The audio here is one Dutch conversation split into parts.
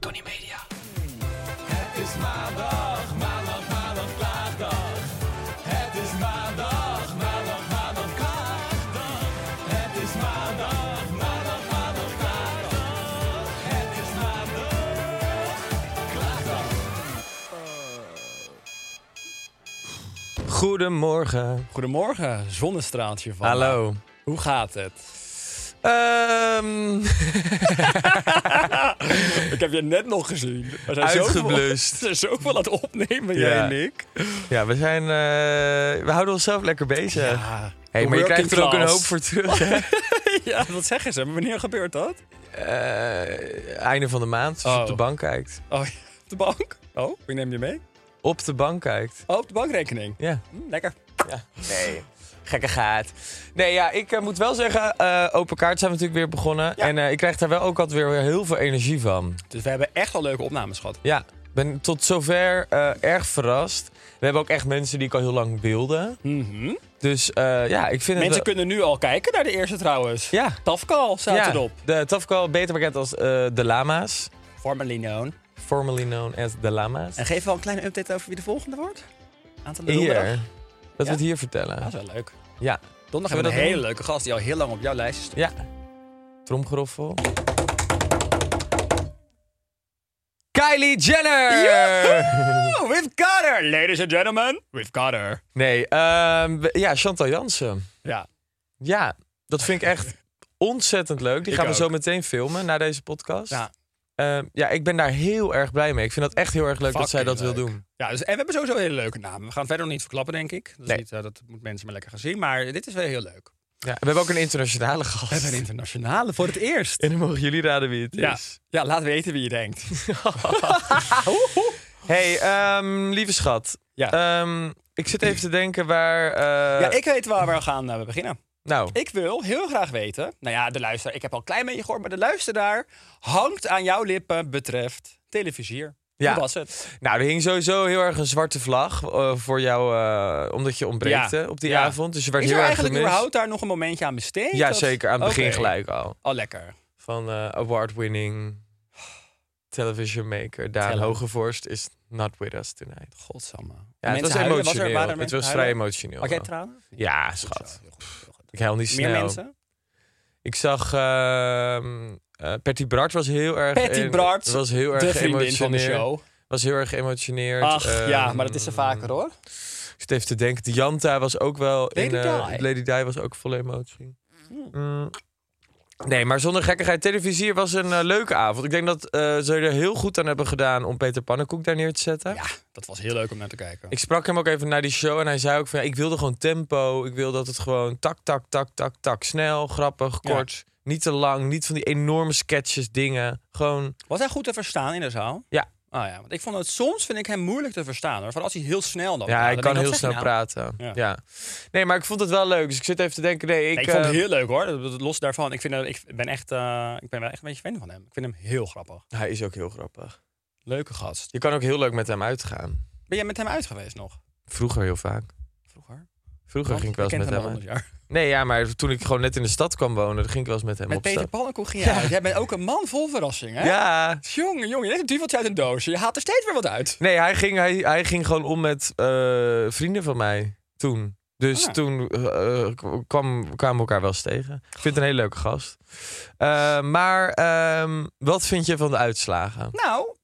Tony Media. Goedemorgen. Goedemorgen, zonnestraaltje van. Hallo. Hoe gaat het? Ehm, Ik heb je net nog gezien. We zijn uitgeblust. Zoveel, we zijn zoveel aan het opnemen, jij Ja. en ik. Ja, we zijn. eh, we houden onszelf lekker bezig. Ja. hey, maar je working krijgt er ook een class. hoop voor terug. Hè? ja, dat zeggen ze. Maar wanneer gebeurt dat? Eh, einde van de maand, als je Oh. op de bank kijkt. Oh, ja, op de bank? Oh, ik neem je mee. Op de bank kijkt. Oh, op de bankrekening. Ja. Hm, lekker. ja. Nee. Gekke gaat. Nee, ja, ik eh, moet wel zeggen, eh, open kaart zijn we natuurlijk weer begonnen. En eh, ik krijg daar wel ook altijd weer heel veel energie van. Dus we hebben echt al leuke opnames gehad. Ja, ik ben tot zover eh, erg verrast. We hebben ook echt mensen die ik al heel lang wilde. Dus eh, ja, ik vind het... Mhm. Mensen wel- kunnen nu al kijken naar de eerste trouwens. Ja. Tafkal staat ja, erop. De Tafkal, beter bekend als eh, de Lama's. Formerly known. Formerly known as de Lama's. En geef wel een kleine update over wie de volgende wordt. Aantal Hier. donderdag. Dat we Ja. het hier vertellen. Dat is wel leuk. Ja. Donderdag Zullen we hebben we dat een hele doen? leuke gast die al heel lang op jouw lijstje stond. Ja. Tromgeroffel. Kylie Jenner! Oh, we've got her, ladies and gentlemen. We've got her. Nee, ehm, we- ja, Chantal Jansen. Ja. Ja, dat vind ik echt ontzettend leuk. Die Ik gaan we zo ook. meteen filmen na deze podcast. Ja. Eh, ja, ik ben daar heel erg blij mee. Ik vind dat echt heel erg leuk dat zij dat Fucking wil leuk. doen. Ja, dus, en we hebben sowieso hele leuke namen. We gaan verder nog niet verklappen, denk ik. Dat, is Nee. niet, eh, dat moeten mensen maar lekker gaan zien. Maar dit is wel heel leuk. Ja, we hebben ook een internationale gast. We hebben een internationale voor het eerst. En dan mogen jullie raden wie het Ja, is. ja, laat weten wie je denkt. hey, ehm, lieve schat. Ja. Ehm, ik zit even te denken waar... eh, ja, ik weet waar we gaan eh, beginnen. Nou, Ik wil heel graag weten. Nou ja, de luisteraar. Ik heb al een klein beetje gehoord, maar de luisteraar hangt aan jouw lippen betreft televisier. Ja. Hoe was het? nou, er hing sowieso heel erg een zwarte vlag eh, voor jou, eh, omdat je ontbreekte Ja. op die Ja. avond. Dus je werd Is heel er erg eigenlijk gemist. überhaupt daar nog een momentje aan besteed? Ja, Of- zeker. Aan het begin Oké. gelijk al. Al lekker. Van eh, award-winning television maker Daan Tellen. Hogevorst is not with us tonight. Godsamme. Ja, het was Mensen huilen? emotioneel. waren er het mensen was vrij huilen? emotioneel. Had jij wel. tranen? Ja, Goed zo, schat. heel goed, heel goed. Ik huil niet Meer snel. mensen? Ik zag... ehm eh Patty Bart was heel erg... Patty in- Bart, was heel erg de vriendin van de show. geëmotioneerd. Was heel erg geëmotioneerd. Ach, ja, Ehm, maar dat is er vaker hoor. Ik zit even te denken. Dianta was ook wel... in, Lady eh, Di. Lady Di was ook vol emotie. Hmm. Mm. Nee, maar zonder gekkigheid. Televisier was een eh, leuke avond. Ik denk dat eh, ze er heel goed aan hebben gedaan om Peter Pannenkoek daar neer te zetten. Ja, dat was heel leuk om naar te kijken. Ik sprak hem ook even naar die show en hij zei ook van... Ja, ik wilde gewoon tempo. Ik wil dat het gewoon tak, tak, tak, tak, tak. Snel, grappig, Ja. kort. Niet te lang. Niet van die enorme sketches, dingen. Gewoon... Was hij goed te verstaan in de zaal? Ja. Ah ja, want ik vond het soms vind ik hem moeilijk te verstaan hoor. Vooral als hij heel snel dan. Ja, praat. hij Dan kan denk heel wat snel zeg je nou? praten. Ja. Ja. Nee, maar ik vond het wel leuk. Dus ik zit even te denken... Nee, ik, Nee, ik vond eh, het heel leuk hoor. Dat- dat- Los daarvan. Ik, vind, dat- ik, ben echt, eh, ik ben wel echt een beetje fan van hem. Ik vind hem heel grappig. Hij is ook heel grappig. Leuke gast. Je kan ook heel leuk met hem uitgaan. Ben jij met hem uit geweest nog? Vroeger heel vaak. Vroeger? Vroeger ging ik wel eens kent met hem al uit. 100 jaar. Nee, ja, maar toen ik gewoon net in de stad kwam wonen... dan ging ik wel eens met hem Met op Peter stap. Pannenkoek ging je uit. Jij bent ook een man vol verrassing hè? Ja, Jongen, jongen, je is een duveltje uit een doos. Je haalt er steeds weer wat uit. Nee, hij ging, hij, hij ging gewoon om met eh, vrienden van mij toen. Dus Ah. toen eh, k- kwam, kwamen we elkaar wel eens tegen. Ik vind het een hele leuke gast. Eh, maar ehm, wat vind je van de uitslagen? Nou,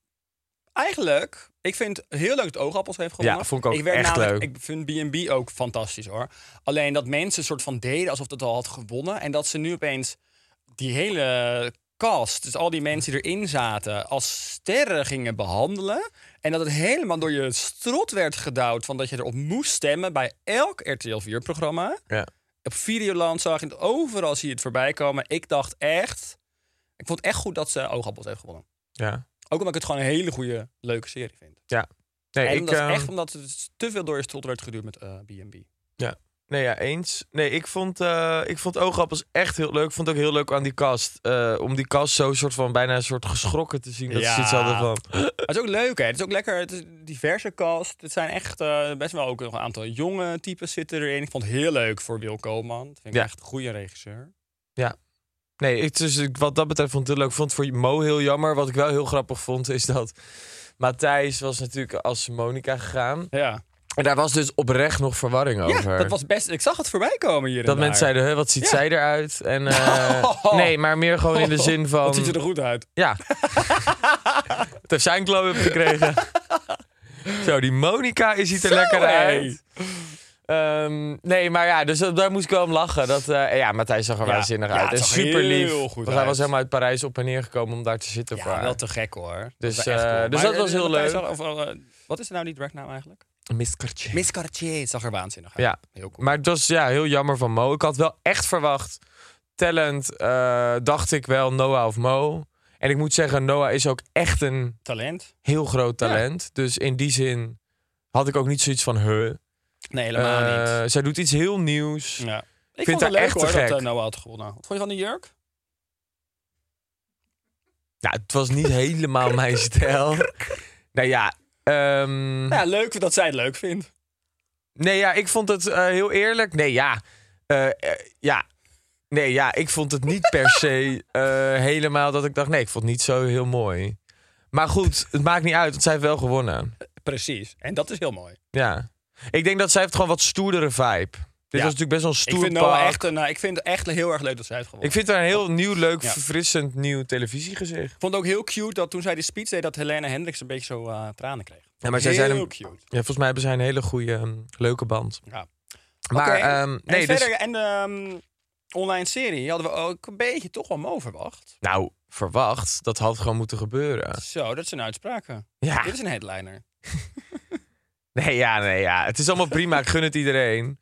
eigenlijk, ik vind heel leuk dat Oogappels heeft gewonnen. Ja, vond ik ook werd echt namelijk- Ik leuk. vind B&B ook fantastisch hoor. Alleen dat mensen een soort van deden alsof dat al had gewonnen. En dat ze nu opeens die hele cast, dus al die mensen die erin zaten, als sterren gingen behandelen. En dat het helemaal door je strot werd gedouwd van dat je erop moest stemmen bij elk RTL 4-programma. Ja. Op Videoland zag je het, overal zie je het voorbij komen. Ik dacht echt, ik vond het echt goed dat ze Oogappels heeft gewonnen. Ja. Ook omdat ik het gewoon een hele goede, leuke serie vind. ja. Nee, en ik, omdat, ehm, echt omdat het te veel door je strot werd geduwd met eh, B&B. Nee, ja, eens. Nee, ik vond, eh ik vond Oogappels echt heel leuk. Ik vond het ook heel leuk aan die kast. eh, om die kast zo soort van bijna een soort geschrokken te zien. Dat Ja. ze iets hadden van... Maar het is ook leuk, hè? Het is ook lekker. Het is een diverse cast. Het zijn echt eh, best wel ook nog een aantal jonge types zitten erin. Ik vond het heel leuk voor Wil Koolman. Dat vind ik Ja. echt een goede regisseur. Nee, ik, dus, ik- wat dat betreft vond ik het heel leuk. Ik vond het voor Mo heel jammer. Wat ik wel heel grappig vond is dat... Matthijs was natuurlijk als Monica gegaan. Ja, En daar was dus oprecht nog verwarring ja over. dat was best... Ik zag het voorbij komen hier en Dat daar. mensen zeiden, "Huh, wat ziet Ja. zij eruit? En, eh, nee, maar meer gewoon in de zin van... Wat ziet er er goed uit? Ja. het heeft zijn glow-up gekregen. Zo, die Monica is ziet er Zo, lekker hé. uit. Ehm, nee, maar ja, dus dat- daar moest ik wel om lachen. Dat, eh, ja, Matthijs zag er Ja. waanzinnig Ja, uit. het En zag er super lief. heel goed Want hij uit. was helemaal uit Parijs op en neer gekomen om daar te zitten voor Ja, haar. wel te gek hoor. Dus, was echt eh, cool. dus Maar, dat was eh, heel Matthijs leuk. zag- of, eh, wat is er nou die dragnaam eigenlijk? Miss Cartier. Miss Cartier zag er waanzinnig uit. Ja, Heel cool. maar het was ja, heel jammer van Mo. Ik had wel echt verwacht. Talent eh, dacht ik wel Noah of Mo. En ik moet zeggen, Noah is ook echt een Talent? heel groot talent. Dus in die zin had ik ook niet zoiets van... Huh. Nee, helemaal niet. Eh, Zij doet iets heel nieuws. Ja. Ik vond vind het haar leuk echt te hoor dat gek. eh, Noah had gewonnen. Wat vond je van de jurk? Nou, het was niet helemaal mijn stijl. Nou ja, ehm, Nou ja, leuk dat zij het leuk vindt. nee ja, ik vond het eh, heel eerlijk. Nee ja, eh, eh, ja. Nee ja, ik vond het niet per se eh, helemaal dat ik dacht... Nee, ik vond het niet zo heel mooi. Maar goed, het maakt niet uit, want zij heeft wel gewonnen. Precies. En dat is heel mooi. Ja. Ik denk dat zij heeft gewoon wat stoerdere vibe. Dit Ja. was natuurlijk best wel een stoer Ik vind, pak. Noah echt een, eh, ik vind het echt heel erg leuk dat zij het Ik gewonnen. Ik vind haar een heel nieuw, leuk, Ja. verfrissend nieuw televisiegezicht. vond het ook heel cute dat toen zij die speech deed... dat Helene Hendricks een beetje zo eh, tranen kreeg. Ja, maar zij heel zijn een- cute. Ja, volgens mij hebben zij een hele goede, ehm, leuke band. Ja. Maar Oké, ehm, nee, en dus, verder, en de ehm, online serie hadden we ook een beetje toch wel mo verwacht. nou, verwacht, dat had gewoon moeten gebeuren. Zo, dat zijn uitspraken. Ja, Dit is een headliner. nee, ja, nee, ja. Het is allemaal prima, ik gun het iedereen.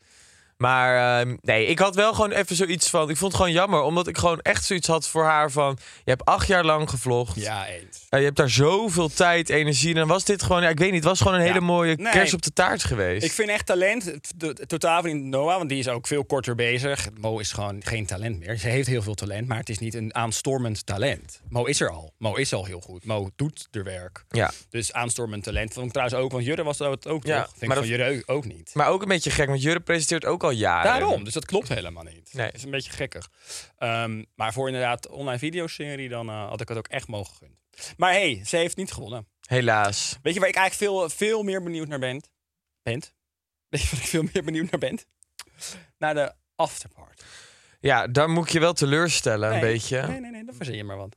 Maar ehm, nee, ik had wel gewoon even zoiets van. Ik vond het gewoon jammer, omdat ik gewoon echt zoiets had voor haar van. Je hebt acht jaar lang gevlogd. Ja, eens. Eh, je hebt daar zoveel tijd, energie. En dan was dit gewoon, ja, ik weet niet, het was gewoon een hele mooie nee. kerst op de taart geweest. Ik vind echt talent t- t- totaal van Noah, want die is ook veel korter bezig. Mo is gewoon geen talent meer. Ze heeft heel veel talent, maar het is niet een aanstormend talent. Mo is er al. Mo is al heel goed. Mo doet er werk. Ja. Dus aanstormend talent. Vond ik trouwens ook, want Jurre was dat ook Ja, toch? Vind ik maar van dat- Jurre ook niet. Maar ook een beetje gek, want Jurre presenteert ook al jaren. Daarom, dus dat klopt helemaal niet. Nee. Dat is een beetje gekkig. Ehm, maar voor inderdaad online videoserie, dan eh, had ik het ook echt mogen gunnen. Maar hey, ze heeft niet gewonnen. Helaas. Weet je waar ik eigenlijk veel, veel meer benieuwd naar ben? Bent? Weet je waar ik veel meer benieuwd naar ben? Naar de afterpart. Ja, daar moet ik je wel teleurstellen, Nee, een beetje. Nee, nee, nee, dan verzin je maar wat.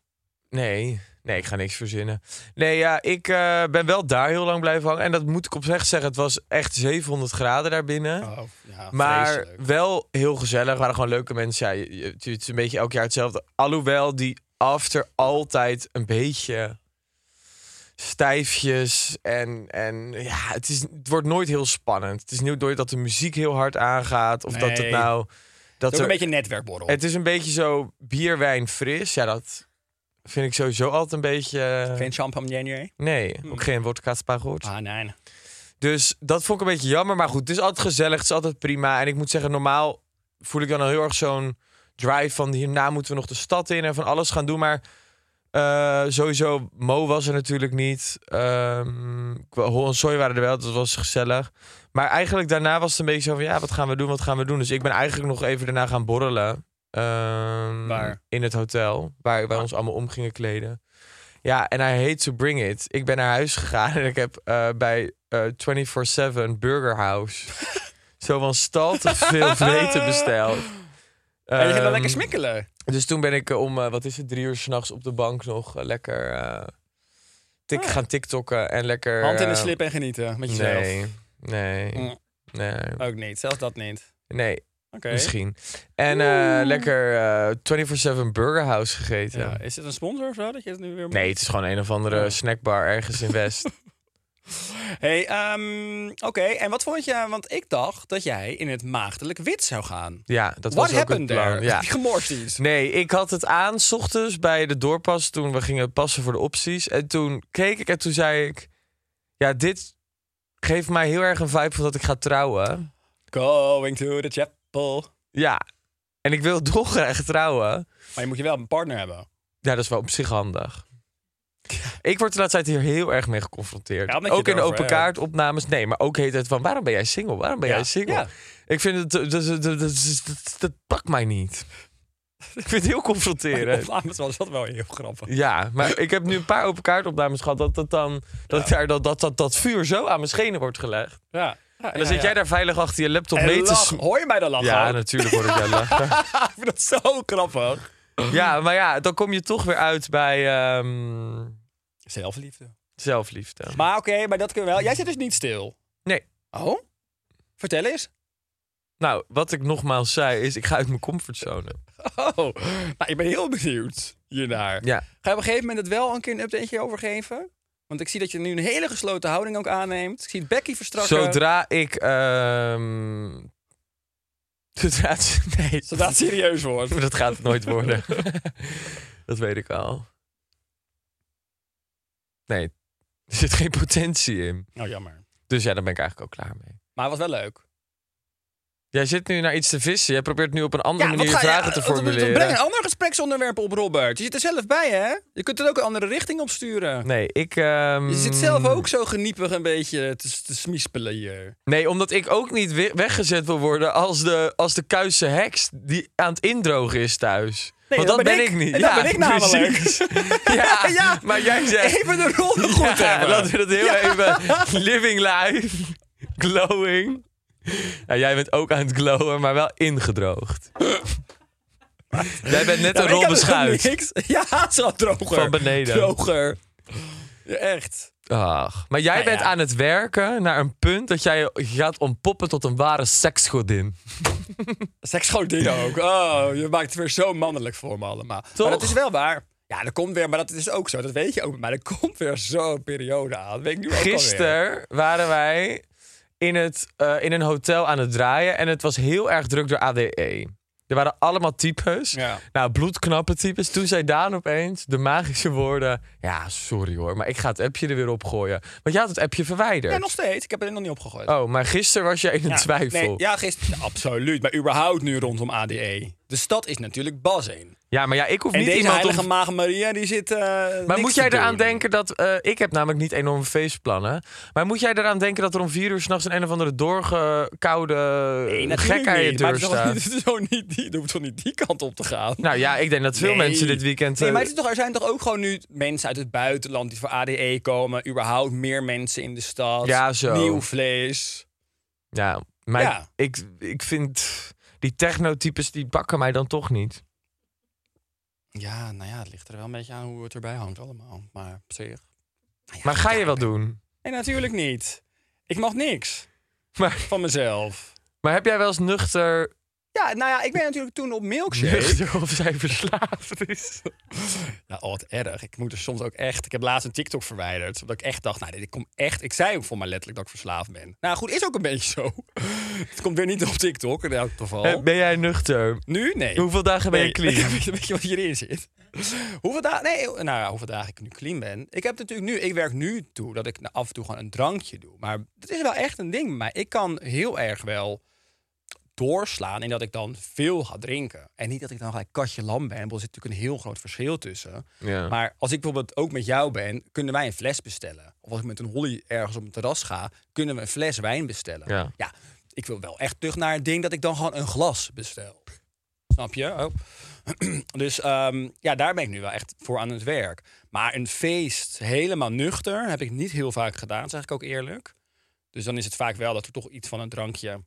Nee, nee, ik ga niks verzinnen. Nee, ja, ik eh, ben wel daar heel lang blijven hangen. En dat moet ik oprecht zeggen, het was echt 700 graden daarbinnen. Oh, ja, maar vreselijk. wel heel gezellig, Er waren gewoon leuke mensen. Ja, je- je- het is een beetje elk jaar hetzelfde. Alhoewel die after altijd een beetje stijfjes en, en ja, het, is, het wordt nooit heel spannend. Het is niet nooit dat de muziek heel hard aangaat of dat het Nee. nou... Dat Het is ook een er- beetje een netwerkborrel. het is een beetje zo bier, wijn, fris. Ja, dat vind ik sowieso altijd een beetje... eh, Geen champagne? Nee, ook geen wodka spaargoed. Ah, nee. Dus dat vond ik een beetje jammer. Maar goed, het is altijd gezellig, het is altijd prima. En ik moet zeggen, normaal voel ik dan al heel erg zo'n drive van... hierna moeten we nog de stad in en van alles gaan doen. Maar eh, sowieso, Mo was er natuurlijk niet. Ehm Hol en Soy waren er wel, dat was gezellig. Maar eigenlijk daarna was het een beetje zo van... ja, wat gaan we doen, wat gaan we doen? Dus ik ben eigenlijk nog even daarna gaan borrelen. Ehm, Waar? In het hotel, waar wij ons allemaal om gingen kleden. Ja, en hij hate to bring it. Ik ben naar huis gegaan en ik heb eh, bij eh 24-7 Burger House... Zo van stal te veel vreten besteld. en je gaat dan Ehm, lekker smikkelen. Dus toen ben ik eh, om, eh, wat is het, drie uur s'nachts op de bank nog eh, lekker eh, tik, Ah, ja. gaan tiktokken en lekker... Hand in de eh, slip en genieten met jezelf. Nee, nee, Mm, nee, Ook niet, zelfs dat niet. nee, Oké. misschien. En eh, lekker eh 24-7 Burger House gegeten. Ja, Is dit een sponsor of zo? Dat je het nu weer moet- Nee, het is gewoon een of andere Ja. snackbar ergens in West. Hey, ehm, oké. En wat vond je? Want ik dacht dat jij in het maagdelijk wit zou gaan. ja, What dat was ook het happened plan. there? Ja. Heb je gemorst iets? Nee, ik had het aan 's ochtends bij de doorpas toen we gingen passen voor de opties. En toen keek ik en toen zei ik... Ja, dit geeft mij heel erg een vibe van dat ik ga trouwen. Going to the chapel. Ja. En ik wil dolgraag trouwen. Maar je moet je wel een partner hebben. Ja, dat is wel op zich handig. Ik word de laatste tijd hier heel erg mee geconfronteerd. Ja, omdat je ook in de erover open hebt. kaart opnames. Nee, maar ook heet het van waarom ben jij single? Waarom ben Ja, jij single? ja. Ik vind het, dat, dat, dat, dat, dat- dat pakt mij niet. Ik vind het heel confronterend. Op was dat wel heel grappig. Ja, maar ik heb nu een paar open kaartopnames gehad. Dat dat, dan, dat, ik daar, dat, dat, dat, dat vuur zo aan mijn schenen wordt gelegd. Ja. Ja, En dan zit jij daar veilig achter je laptop mee en te lach. sm- Hoor je mij dan lachen? Ja, natuurlijk word ik daar lachen. ik vind dat zo grappig. Ja, maar ja, dan kom je toch weer uit bij ehm, Zelfliefde. zelfliefde. Maar oké, maar dat kunnen we wel. Jij zit dus niet stil. Nee. Oh? Vertel eens. Nou, wat ik nogmaals zei is, ik ga uit mijn comfortzone. Oh, nou, ik ben heel benieuwd hiernaar. Ja. Ga je op een gegeven moment het wel een keer een updateje over geven? Want ik zie dat je nu een hele gesloten houding ook aanneemt. Ik zie het bekkie verstrakken. Zodra ik... ehm Zodra het... Nee, Zodra het serieus wordt. dat gaat het nooit worden. dat weet ik al. Nee, er zit geen potentie in. Nou, jammer. Dus ja, daar ben ik eigenlijk ook klaar mee. Maar het was wel leuk. Jij zit nu naar iets te vissen. Jij probeert nu op een andere wat manier je ga je- eh, vragen te wat- wat- formuleren. Breng een ander gespreksonderwerp op, Robert. Je zit er zelf bij, hè? Je kunt er ook een andere richting op sturen. Nee, ik... ehm, oh. Je zit zelf ook zo geniepig een beetje te, te smispelen hier. Nee, omdat ik ook niet we- weggezet wil worden als de, als de kuisse heks die aan het indrogen is thuis. Want dat dat ben ben ik. ik niet. Dat ben ik namelijk. precies. ja, Ja. maar jij zegt... Even de rollen goed Ja, hebben. Laten we dat heel even... Living life. Glowing. Ja, jij bent ook aan het glowen, maar wel ingedroogd. jij bent net Ja, een maar ik heb robbe dus schuit. niks. Ja, zo droger. Van beneden. Droger. Ja, echt. Ach, maar jij Nou bent ja. aan het werken naar een punt dat jij je gaat ontpoppen tot een ware seksgodin. Seksgodin ook. Oh, je maakt het weer zo mannelijk voor me allemaal. Toch? Maar dat is wel waar. Ja, dat komt weer, maar dat is ook zo. Dat weet je ook. Maar er komt weer zo'n periode aan. Dat weet ik nu ook alweer. Gisteren waren wij in, het, eh, in een hotel aan het draaien en het was heel erg druk door ADE. Er waren allemaal types. Ja. Nou, bloedknappe types. Toen zei Daan opeens de magische woorden... Ja, sorry hoor, maar ik ga het appje er weer op gooien. Want je had het appje verwijderd. Ja, nog steeds. Ik heb het er nog niet opgegooid. Oh, maar gisteren was jij in de Ja, twijfel. nee, ja. ja, gisteren. ja, absoluut. Maar überhaupt nu rondom ADE. De stad is natuurlijk bazin. maar ja, ik hoef En niet deze iemand... heilige om... maagd Maria, die zit eh, Maar niks moet jij te eraan doen. denken dat... eh, ik heb namelijk niet enorme feestplannen. Maar moet jij eraan denken dat er om vier uur s'nachts... een een of andere doorgekoude Nee, nee, natuurlijk gek aan je niet. Maar deur het is toch staat? niet- het is toch niet die- er hoeft toch niet die kant op te gaan? Nou ja, ik denk dat veel Nee. mensen dit weekend... Nee, eh, maar het is toch, er zijn toch ook gewoon nu mensen uit het buitenland die voor ADE komen. Überhaupt meer mensen in de stad. Ja, zo. Nieuw vlees. Ja, maar Ja. Ik, ik vind... Die technotypes, die bakken mij dan toch niet. Ja, nou ja, het ligt er wel een beetje aan hoe het erbij hangt allemaal. Maar op zich. Maar ga je wel doen? Nee, natuurlijk niet. Ik mag niks Maar, van mezelf. maar heb jij wel eens nuchter... Ja, nou ja, ik ben natuurlijk toen op milkshake. Nuchter of zij verslaafd is? Nou, oh, wat erg. Ik moet er soms ook echt. Ik heb laatst een TikTok verwijderd. Omdat ik echt dacht, nou, dit ik kom echt. Ik zei ook voor mij letterlijk dat ik verslaafd ben. Nou goed, is ook een beetje zo. Het komt weer niet op TikTok in elk geval. Eh, Ben jij nuchter? Nu? Nee. Hoeveel dagen ben je Nee, clean? Weet je, weet je wat hierin zit? hoeveel dagen... Nee, nou ja, hoeveel dagen ik nu clean ben. Ik heb natuurlijk nu... Ik werk nu toe dat ik nou af en toe gewoon een drankje doe. Maar dat is wel echt een ding bij mij. Ik kan heel erg wel doorslaan in dat ik dan veel ga drinken. En niet dat ik dan gelijk katje lam ben. want Er zit natuurlijk een heel groot verschil tussen. Ja. Maar als ik bijvoorbeeld ook met jou ben, kunnen wij een fles bestellen. Of als ik met een holly ergens op een terras ga, kunnen we een fles wijn bestellen. Ja. ik wil wel echt terug naar het ding dat ik dan gewoon een glas bestel. Snap je? Oh. dus ehm, ja, daar ben ik nu wel echt voor aan het werk. Maar een feest helemaal nuchter heb ik niet heel vaak gedaan, zeg ik ook eerlijk. Dus dan is het vaak wel dat er toch iets van een drankje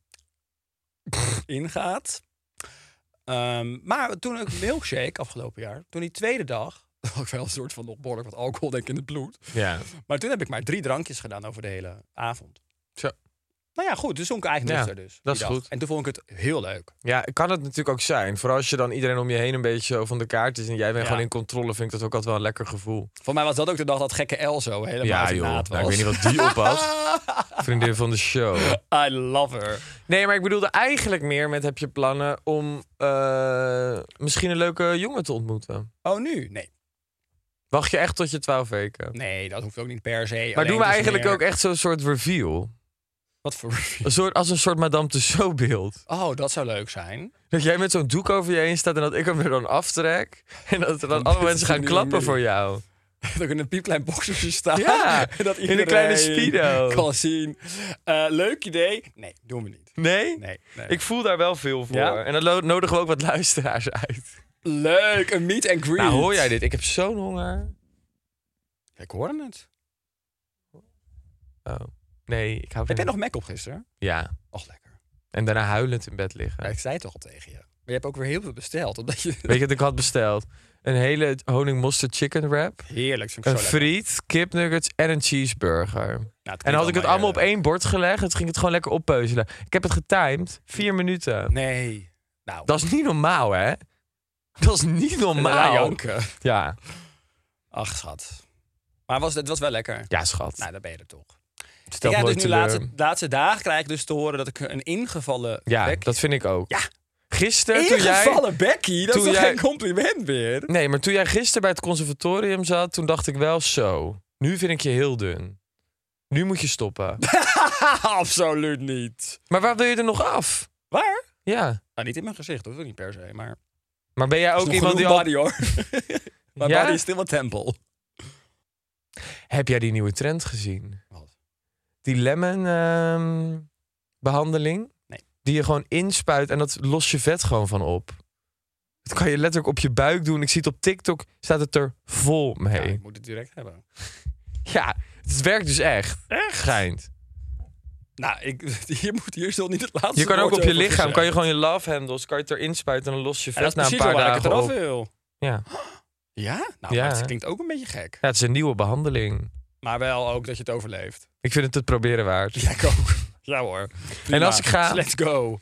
ingaat. Ehm, maar toen ook Milkshake afgelopen jaar, toen die tweede dag, had ik wel een soort van nog behoorlijk wat alcohol denk ik in het bloed. Ja. Maar toen heb ik maar drie drankjes gedaan over de hele avond. Zo. Nou ja, goed, dus zonk ik eigenlijk Ja, nuchter dus. die dat is dag. goed. En toen vond ik het heel leuk. ja, kan het natuurlijk ook zijn. Vooral als je dan iedereen om je heen een beetje zo van de kaart is en jij bent Ja. gewoon in controle, vind ik dat ook altijd wel een lekker gevoel. Voor mij was dat ook de dag dat gekke Elzo helemaal uit ja, de joh. naad was. Nou, ik weet niet wat die op had. Vriendin van de show. I love her. Nee, maar ik bedoelde eigenlijk meer met heb je plannen om eh, misschien een leuke jongen te ontmoeten. Oh, nu? Nee. Wacht je echt tot je twaalf weken? Nee, dat hoeft ook niet per se. maar Alleen doen we het is eigenlijk meer- ook echt zo'n soort reveal? Wat voor review? Een soort, als een soort Madame Tussauds beeld. Oh, dat zou leuk zijn. Dat jij met zo'n doek over je heen staat en dat ik hem er dan aftrek. En dat er dan alle mensen gaan klappen voor jou. Dat ik in een piepklein boxertje sta. Ja, En dat in een kleine iedereen speedo. Kan zien. Eh, leuk idee. Nee, doen we niet. Nee? Nee. nee. Ik voel daar wel veel voor. Ja? En dan lo- nodigen we ook wat luisteraars uit. Leuk, een meet and greet. Nou, hoor jij dit? Ik heb zo'n honger. Ik hoorde het. Oh. Nee, ik hou Heb jij van... nog Mac op gisteren? Ja. Och, lekker. En daarna huilend in bed liggen. Ja, ik zei toch al tegen je. Maar je hebt ook weer heel veel besteld. Omdat je... Weet je wat ik had besteld? Een hele honing mosterd chicken wrap. Heerlijk, vind ik Een zo lekker. friet, kipnuggets en een cheeseburger. Nou, het En klinkt had ik het allemaal op maar, eh, één bord gelegd, het ging het gewoon lekker oppeuzelen. Ik heb het getimed, vier minuten. Nee. Nou, Dat is niet normaal, hè? Dat is niet daarna normaal. janken. Ja, Ach, schat. Maar was, het was wel lekker. ja schat. Nou, dan ben je er toch. Stel ik krijg nooit dus nu teleur. laatste, laatste dagen krijg ik dus te horen dat ik een ingevallen Ja, Becky... dat vind ik ook. Ja. Gisteren toen jij... ingevallen Becky? Dat toen is toch jij- geen compliment meer? Nee, maar toen jij gisteren bij het conservatorium zat, toen dacht ik wel zo. Nu vind ik je heel dun. Nu moet je stoppen. Absoluut niet. maar waar wil je er nog af? Waar? Ja. Nou, niet in mijn gezicht, dat wil ik niet per se. Maar Maar ben jij Is ook nog iemand die genoeg al... body, hoor. Mijn Ja? body is still a temple. Heb jij die nieuwe trend gezien? Wat? Die lemon ehm, behandeling? Nee. Die je gewoon inspuit en dat lost je vet gewoon van op. Dat kan je letterlijk op je buik doen. Ik zie het op TikTok, staat het er vol Ja, mee. ik Nou, moet het direct hebben. Ja, het werkt dus echt. Echt? Schijnt. Nou, ik, hier moet hier zo niet het laatste Je kan ook woord op je over lichaam, gezegd. kan je gewoon je love handles, kan je het erin spuiten en dan lost je Ja, vet dat is na een precies paar waar ik het dagen eraf op. wil. Ja. Ja? Nou, Ja, maar het hè? klinkt ook een beetje gek. ja, het is een nieuwe behandeling. Maar wel ook dat je het overleeft. Ik vind het het proberen waard. Ja, ik ook. Ja hoor. Prima. als ik ga- Let's go.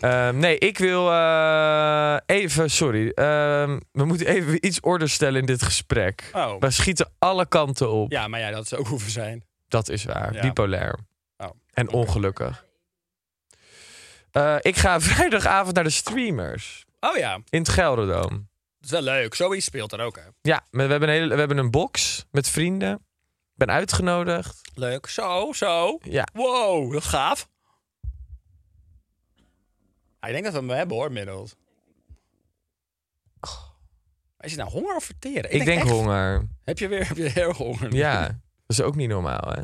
Ehm, nee, ik wil eh, even, sorry. ehm, we moeten even iets orde stellen in dit gesprek. Oh. We schieten alle kanten op. Ja, maar ja, dat zou ook hoeven zijn. Dat is waar. Ja. Bipolair. Oh, en ongelukkig. Eh, ik ga vrijdagavond naar de streamers Oh ja, dat in het Gelderdoom. is wel leuk. Zoiets speelt er ook, hè? Ja, we we hebben, een hele, we hebben een box met vrienden. Ik ben uitgenodigd. Leuk. Zo, zo. Ja. Wow, dat gaaf. Ja, ik denk dat we hem hebben, hoor, inmiddels. Is het nou honger of verteren? Ik, Ik, denk, echt- honger. Heb je weer heb je heel honger? Ja, dat is ook niet normaal, hè?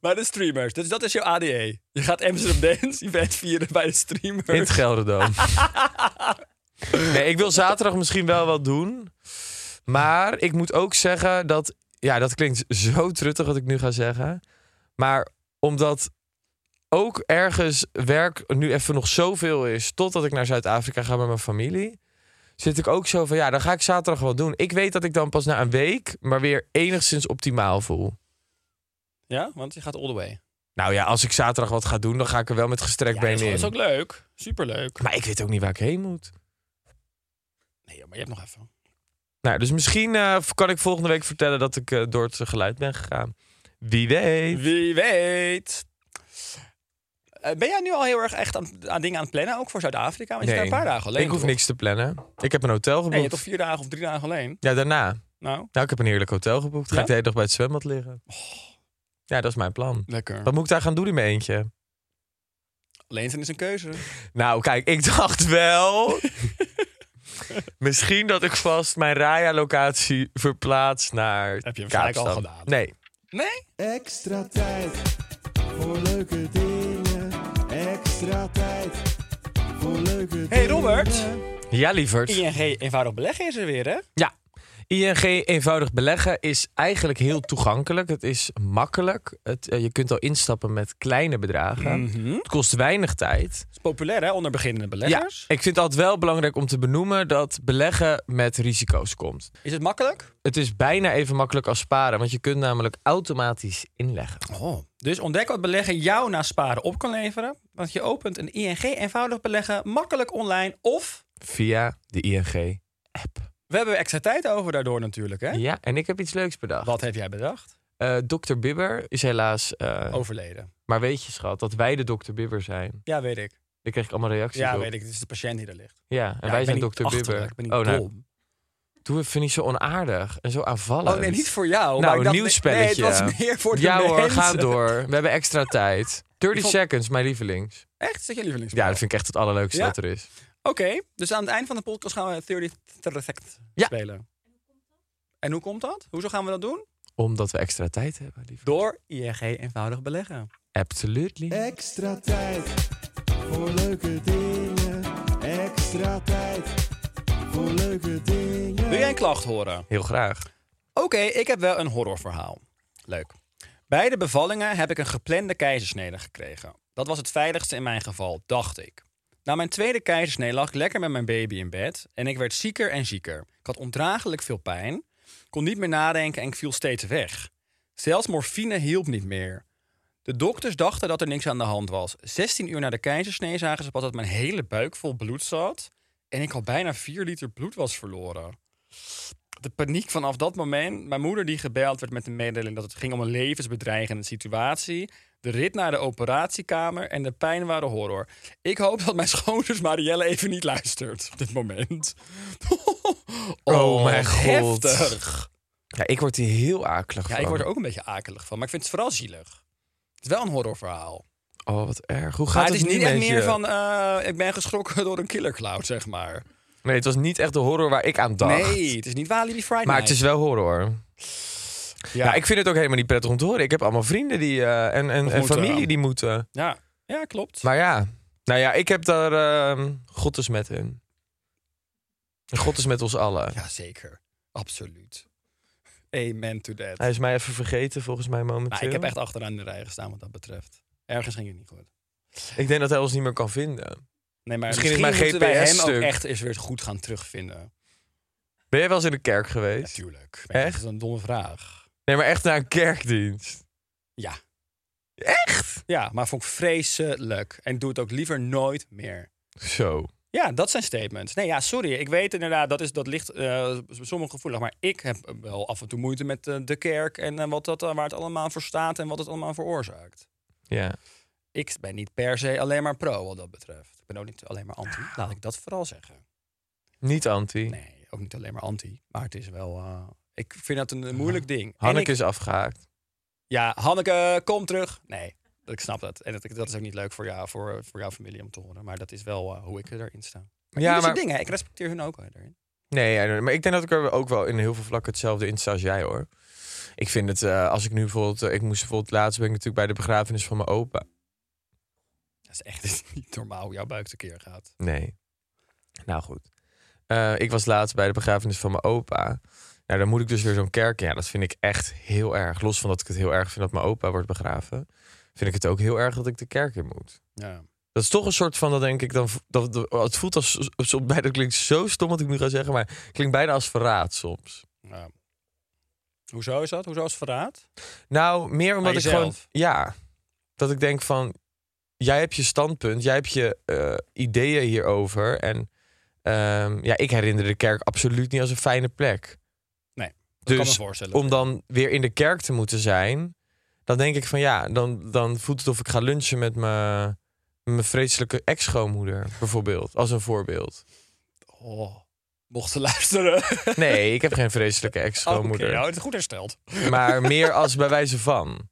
Bij de streamers. Dus dat is jouw ADE. Je gaat Amsterdam Dance Event vieren bij de streamers. In het Gelderdoom. nee, ik wil zaterdag misschien wel wat doen. Maar ik moet ook zeggen dat... Ja, dat klinkt zo truttig wat ik nu ga zeggen. Maar omdat ook ergens werk nu even nog zoveel is... totdat ik naar Zuid-Afrika ga met mijn familie... zit ik ook zo van, ja, dan ga ik zaterdag wat doen. Ik weet dat ik dan pas na een week... maar weer enigszins optimaal voel. Ja, want je gaat all the way. Nou ja, als ik zaterdag wat ga doen... dan ga ik er wel met gestrekt Ja, been dat is- dat in. is ook leuk. Superleuk. Maar ik weet ook niet waar ik heen moet. Nee, joh, maar je hebt nog even. Nou, dus misschien eh, kan ik volgende week vertellen dat ik eh, door het geluid ben gegaan. Wie weet. Wie weet. Eh, ben jij nu al heel erg echt aan, aan dingen aan het plannen, ook voor Zuid-Afrika? Want je Nee, bent daar een paar dagen alleen. ik hoef toch? niks te plannen. Ik heb een hotel Nee, je geboekt. hebt toch vier dagen of drie dagen alleen? Ja, daarna. Nou, Nou, ik heb een heerlijk hotel geboekt. Ga Ja? Oh. ik de hele dag bij het zwembad liggen. Ja, dat is mijn plan. lekker. Wat moet ik daar gaan doen in mijn eentje? Alleen zijn is een keuze. Nou, kijk, ik dacht wel... misschien dat ik vast mijn Raya-locatie verplaats naar Heb je hem gelijk Kaapstad. al gedaan? Nee. Nee? Extra tijd voor leuke dingen. Extra tijd voor leuke dingen. Hey Robert! Ja, lieverd. ING Eenvoudig Beleggen is er weer, hè? Ja. ING eenvoudig beleggen is eigenlijk heel toegankelijk. Het is makkelijk. Het, eh, je kunt al instappen met kleine bedragen. Mhm. Het kost weinig tijd. is populair hè, onder beginnende beleggers. Ja, ik vind het altijd wel belangrijk om te benoemen dat beleggen met risico's komt. Is het makkelijk? Het is bijna even makkelijk als sparen, want je kunt namelijk automatisch inleggen. Oh. Dus ontdek wat beleggen jou na sparen op kan leveren. Want je opent een ING eenvoudig beleggen makkelijk online. Of Via de ING-app. we hebben extra tijd over daardoor natuurlijk. Hè? Ja, en ik heb iets leuks bedacht. Wat heb jij bedacht? Eh, Dr. Bibber is helaas... eh, Oh. Overleden. Maar weet je, schat, dat wij de Dr. Bibber zijn. Ja, weet ik. Daar kreeg ik allemaal reacties Ja, op. weet ik. Het is de patiënt die er ligt. Ja, en Ja, wij ik zijn ben Dr. niet Bibber. achterlijk, Ik ben niet oh, nou, dom. doe even niet zo onaardig en zo aanvallend. Oh nee, niet voor jou. Nou, maar ik een dacht, nieuw spelletje. Nee, het was meer voor de ja mensen. hoor, ga door. We hebben extra tijd. 30 Ik vond- seconds, mijn lievelings. Echt? Is dat je lievelingsspel? Ja, dat vind ik echt het allerleukste Ja? dat er is. Oké, dus aan het eind van de podcast gaan we 30 Effect Ja. spelen. En hoe komt dat? Hoezo gaan we dat doen? Omdat we extra tijd hebben, liever. Door ING eenvoudig beleggen. Absolutely. Eh. Extra tijd voor leuke dingen. Extra tijd voor leuke dingen. Wil jij een klacht horen? Heel graag. Oké, ik heb wel een horrorverhaal. Leuk. Bij de bevallingen heb ik een geplande keizersnede gekregen. Dat was het veiligste in mijn geval, dacht ik. Na mijn tweede keizersnee lag ik lekker met mijn baby in bed en ik werd zieker en zieker. Ik had ondraaglijk veel pijn, kon niet meer nadenken en ik viel steeds weg. Zelfs morfine hielp niet meer. De dokters dachten dat er niks aan de hand was. 16 uur na de keizersnee zagen ze pas dat mijn hele buik vol bloed zat en ik al bijna 4 liter bloed was verloren de paniek vanaf dat moment. Mijn moeder die gebeld werd met de mededeling dat het ging om een levensbedreigende situatie. De rit naar de operatiekamer en de pijn waren horror. Ik hoop dat mijn schoonzus Marielle even niet luistert op dit moment. Oh, mijn wat god. Heftig. Ja, ik word hier heel akelig Ja, van. ik word er ook een beetje akelig van, maar ik vind het vooral zielig. Het is wel een horrorverhaal. Oh, wat erg. Hoe gaat Maar het het is nu niet echt met meer je? van, eh, ik ben geschrokken door een killer cloud, zeg maar. Nee, het was niet echt de horror waar ik aan dacht. Nee, het is niet Walibi Friday Maar het is wel horror. Ja. ik vind het ook helemaal niet prettig om te horen. Ik heb allemaal vrienden die, eh, en, en, en moeten. familie die moeten. ja. ja, klopt. Maar ja, nou ja, ik heb daar ehm God is met hun. En God is met ons allen. Jazeker, absoluut. Amen to that. Hij is mij even vergeten volgens mij momenteel. Nou, ik heb echt achteraan in de rij gestaan wat dat betreft. Ergens ging het niet goed. Ik denk dat hij ons niet meer kan vinden. Nee, maar Misschien misschien, is mijn moeten wij hem GPS ook -stuk. echt eens weer goed gaan terugvinden. Ben jij wel eens in de kerk geweest? Natuurlijk. Echt? Dat is een domme vraag. Nee, maar echt naar een kerkdienst. Ja. Echt? Ja, maar vond ik vreselijk. En doe het ook liever nooit meer. Zo. Ja, dat zijn statements. Nee, ja, sorry. Ik weet inderdaad, dat, is, dat ligt eh sommigen gevoelig. Maar ik heb wel af en toe moeite met eh, de kerk en eh, wat dat, eh, waar het allemaal voor staat en wat het allemaal veroorzaakt. Ja. Ik ben niet per se alleen maar pro wat dat betreft. Ik ben ook niet alleen maar anti. Laat ik dat vooral zeggen. Niet anti. Nee, ook niet alleen maar anti. Maar het is wel. eh, ik vind dat een, een moeilijk ding. En Hanneke ik- is afgehaakt. Ja, Hanneke, kom terug. Nee, ik snap dat. En dat, dat is ook niet leuk voor jou, voor, voor jouw familie om te horen. Maar dat is wel eh, hoe ik erin sta. Maar Ja, ja, maar... maar- dingen. Ik respecteer hun ook wel daarin. Nee, ja, maar ik denk dat ik er ook wel in heel veel vlakken hetzelfde in sta als jij hoor. Ik vind het, eh, als ik nu bijvoorbeeld, eh, ik moest bijvoorbeeld laatst ben ik natuurlijk bij de begrafenis van mijn opa. Dat is echt niet normaal hoe jouw buik tekeer gaat. Nee. Nou goed. Eh, ik was laatst bij de begrafenis van mijn opa. Nou, dan moet ik dus weer zo'n kerk in. Ja, dat vind ik echt heel erg. Los van dat ik het heel erg vind dat mijn opa wordt begraven, vind ik het ook heel erg dat ik de kerk in moet. Ja. Dat is toch een soort van, dat denk ik, dan, dat, dat- het voelt als, als- bijna, dat klinkt zo stom wat ik nu ga zeggen, maar het klinkt bijna als verraad soms. ja. Hoezo is dat? Hoezo is het verraad? Nou, meer omdat Aan ik gewoon. jezelf? Ja. Dat ik denk van. Jij hebt je standpunt, jij hebt je eh, ideeën hierover. En ehm, ja, ik herinner de kerk absoluut niet als een fijne plek. Nee, dat dus kan me voorstellen. om dan weer in de kerk te moeten zijn, dan denk ik van ja, dan, dan voelt het of ik ga lunchen met mijn met mijn vreselijke ex-schoonmoeder, bijvoorbeeld. Als een voorbeeld. Oh, mocht ze luisteren. Nee, ik heb geen vreselijke ex-schoonmoeder. Oké, nou, het is goed hersteld. Maar meer als bij wijze van.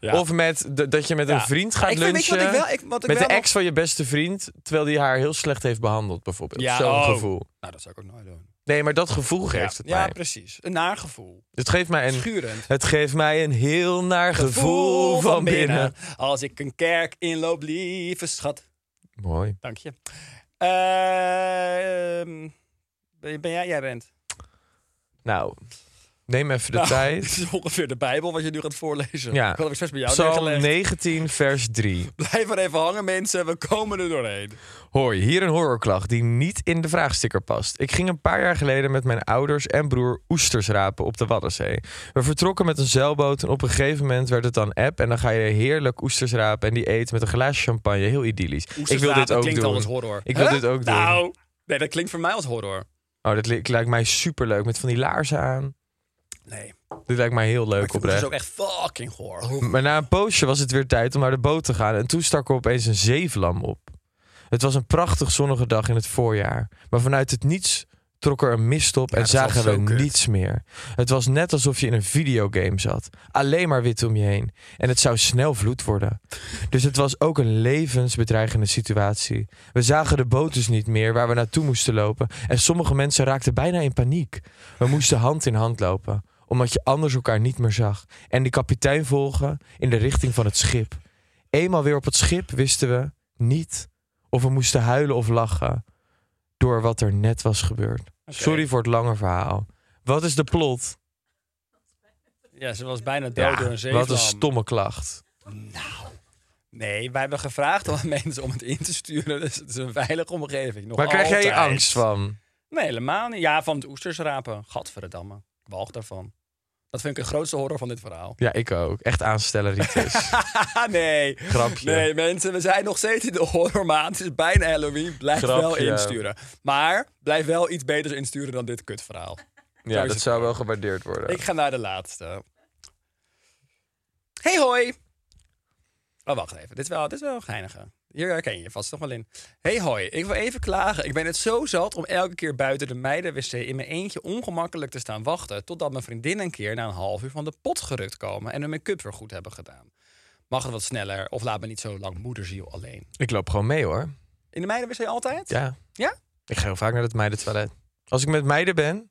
Ja. Of met de- dat je met Ja. een vriend gaat ik vind- lunchen. weet je wat ik wel- ik- wat ik met wel de nog- ex van je beste vriend, terwijl die haar heel slecht heeft behandeld, bijvoorbeeld. Ja, Zo'n oh. gevoel. Nou, dat zou ik ook nooit doen. Nee, maar dat gevoel geeft ja, het mij. ja, precies. Een naargevoel. Het geeft mij een, Schurend. het geeft mij een heel naar gevoel, van binnen. Als ik een kerk inloop, lieve schat. Mooi. Dank je. Ehm, ben ben jij, jij bent. Nou, neem even de Nou, Dit tijd. is ongeveer de Bijbel wat je nu gaat voorlezen. Ja. Ik had hem expres bij jou Psalm neergelegd. 19, vers 3. Blijf maar even hangen, mensen. We komen er doorheen. Hoi, hier een horrorklacht die niet in de vraagsticker past. Ik ging een paar jaar geleden met mijn ouders en broer oesters rapen op de Waddenzee. We vertrokken met een zeilboot en op een gegeven moment werd het dan app... en dan ga je heerlijk oesters rapen en die eet met een glaasje champagne. Heel idyllisch. ik wil dit Oestersrapen ook klinkt doen. al als horror. Ik wil Hè? dit ook doen. Nou, nee, dat klinkt voor mij als horror. Oh, dat li- lijkt mij superleuk met van die laarzen aan. Nee. Dit lijkt mij heel leuk Maar het dus is oprecht. ook echt fucking goor. Maar na een poosje was het weer tijd om naar de boot te gaan. En toen stak er opeens een zeevlam op. Het was een prachtig zonnige dag in het voorjaar. Maar vanuit het niets trok er een mist op en dat is al zagen zo we kut. niets meer. Het was net alsof je in een videogame zat. Alleen maar wit om je heen. En het zou snel vloed worden. Dus het was ook een levensbedreigende situatie. We zagen de boot dus niet meer waar we naartoe moesten lopen. En sommige mensen raakten bijna in paniek. We moesten hand in hand lopen, omdat je anders elkaar niet meer zag. En de kapitein volgen in de richting van het schip. Eenmaal weer op het schip wisten we niet of we moesten huilen of lachen door wat er net was gebeurd. Sorry voor het lange verhaal. Wat is de plot? Ja, ze was bijna dood Ah, door een zeevlam. wat een stomme klacht. Nee, wij hebben gevraagd aan mensen om het in te sturen. Dus het is een veilige omgeving. Nog Waar krijg jij je altijd. angst van? Nee, helemaal niet. Ja, van het oestersrapen. Gadverdamme. Ik walg daarvan. Dat vind ik de grootste horror van dit verhaal. Ja, ik ook. Echt aanstelleritis. nee. Grapje. Nee, mensen, we zijn nog steeds in de horrormaand. Het is bijna Halloween. Blijf wel Grapje. insturen. Maar blijf wel iets beters insturen dan dit kutverhaal. ja, dat het zou wel gewaardeerd worden. Ik ga naar de laatste. Hey hoi. Oh, wacht even. Dit is wel, dit is wel een geinige. Hier herken je je vast nog wel in. Hey hoi, ik wil even klagen. Ik ben het zo zat om elke keer buiten de meiden-wc in mijn eentje ongemakkelijk te staan wachten... totdat mijn vriendinnen een keer na een half uur van de pot gerukt komen... en hun make-up weer goed hebben gedaan. Mag het wat sneller of laat me niet zo lang moederziel alleen. Ik loop gewoon mee hoor. In de meiden-wc altijd? Ja. Ja? Ik ga heel vaak naar het meidentoilet. Als ik met meiden ben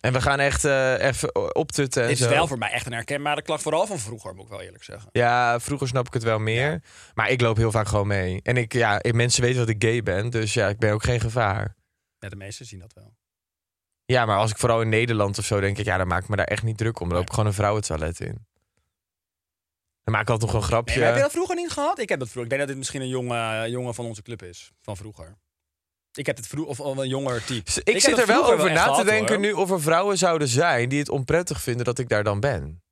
en we gaan echt eh, even optutten en Dit is zo. wel voor mij echt een herkenbare klacht. Vooral van vroeger, moet ik wel eerlijk zeggen. Ja, vroeger snap ik het wel meer. Maar ik loop heel vaak gewoon mee. En ik, ja, ik- mensen weten dat ik gay ben, dus ja, ik ben ook geen gevaar. Ja, de meesten zien dat wel. Ja, maar als ik vooral in Nederland of zo denk ik, ja, dan maak ik me daar echt niet druk om. Dan loop ik Nee. gewoon een vrouwentoilet in. Dan maak ik altijd nog een Nee, grapje. maar heb je dat vroeger niet gehad? Ik heb dat vroeger. Ik denk dat dit misschien een jonge, jongen van onze club is. Van vroeger. Ik heb het vroeger, of wel een jonger type. Dus ik, heb zit dat er wel vroeger over echt na te gehad, denken hoor. nu of er vrouwen zouden zijn die het onprettig vinden dat ik daar dan ben.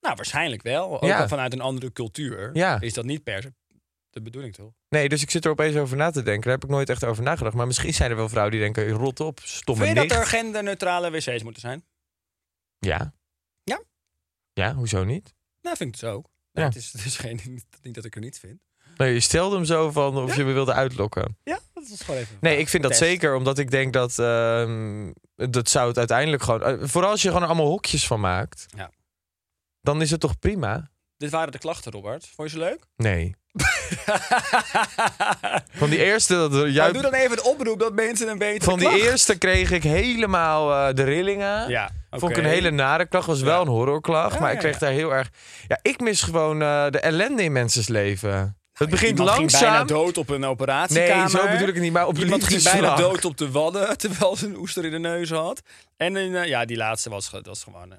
Nou, waarschijnlijk wel. Ook Ja. al vanuit een andere cultuur Ja. is dat niet per se de bedoeling, toch? Nee, dus ik zit er opeens over na te denken. Daar heb ik nooit echt over nagedacht. Maar misschien zijn er wel vrouwen die denken, rot op, stomme Vind je nicht. dat er genderneutrale wc's moeten zijn? Ja. Ja? Ja, hoezo niet? Nou, vind ik het ook. Ja. Nou, het, is, het is geen, niet dat ik er niet vind. Nee, je stelde hem zo van of Ja? je me wilde uitlokken. Ja, dat is gewoon even... Nee, ik vind dat Test. zeker, omdat ik denk dat... ehm, dat zou het uiteindelijk gewoon... eh, vooral als je er gewoon allemaal hokjes van maakt. Ja. Dan is het toch prima? Dit waren de klachten, Robert. Vond je ze leuk? Nee. Van die eerste... Dat, er- Maar jij, Nou, doe dan even de oproep dat mensen een weten. van die eerste kreeg ik helemaal eh, de rillingen. Ja, Vond ik oké. een hele nare klacht. Was wel Ja. een horrorklacht. Ja, maar ik ja, kreeg ja. daar heel erg... Ja, ik mis gewoon eh, de ellende in mensen's leven. Het begint Iemand ging langzaam. bijna dood op een operatiekamer. Nee, zo bedoel ik het niet. Maar op de Iemand ging bijna liefdesvlak. dood op de wadden, terwijl ze een oester in de neus had. En eh, ja, die laatste was, ge- was gewoon eh,